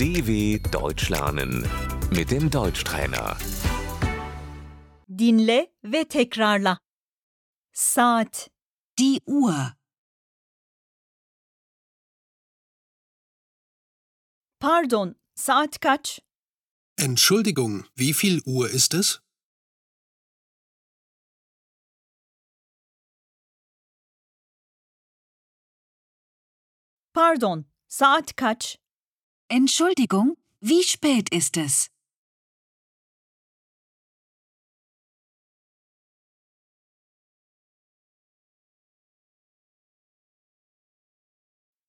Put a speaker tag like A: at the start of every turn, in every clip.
A: DW Deutsch lernen mit dem Deutschtrainer.
B: Dinle ve tekrarla. Saat,
C: Die Uhr,
B: pardon, saat kaç?
D: Entschuldigung, wie viel Uhr ist es?
B: Pardon, saat kaç?
C: Entschuldigung, wie spät ist es?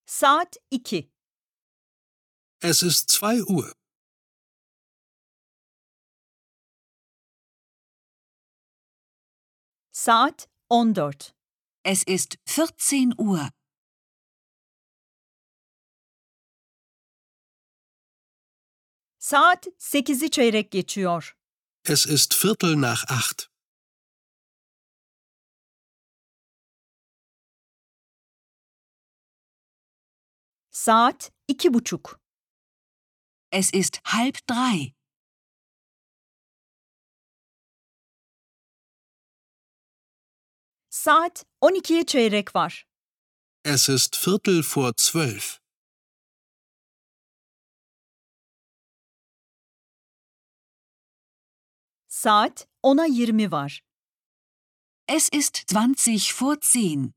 B: Saat 2.
D: Es ist zwei Uhr.
B: Saat 14.
C: Es ist 14 Uhr.
B: Saat 8'i çeyrek geçiyor.
D: Es ist Viertel nach acht.
B: Saat iki buçuk.
C: Es ist halb drei.
B: Saat 12'ye çeyrek var.
D: Es ist Viertel vor zwölf.
B: Saat 10'a 20 var.
C: Es ist 20 vor 10.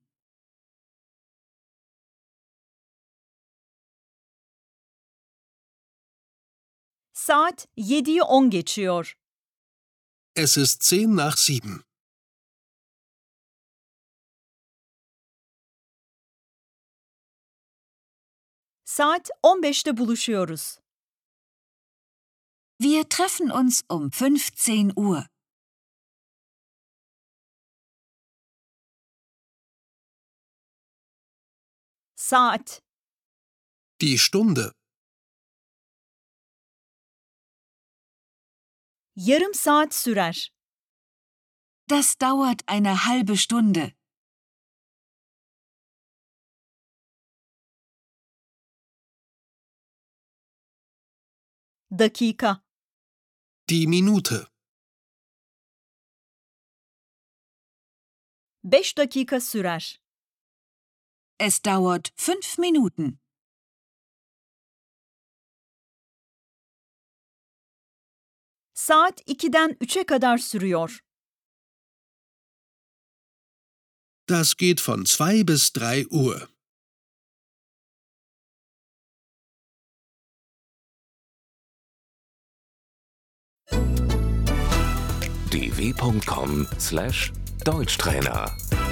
B: Saat 7'yi 10 geçiyor.
D: Es ist zehn nach sieben.
B: Saat 15'te buluşuyoruz.
C: Wir treffen uns um 15 Uhr.
B: Saat
D: Die Stunde.
B: yarım saat sürer.
C: Das dauert eine halbe Stunde.
B: Dakika
D: Die Minute.
B: 5 dakika sürer.
C: Es dauert fünf Minuten.
B: Saat 2'den 3'e kadar sürüyor.
D: Das geht von zwei bis drei Uhr.
A: dw.com/deutschtrainer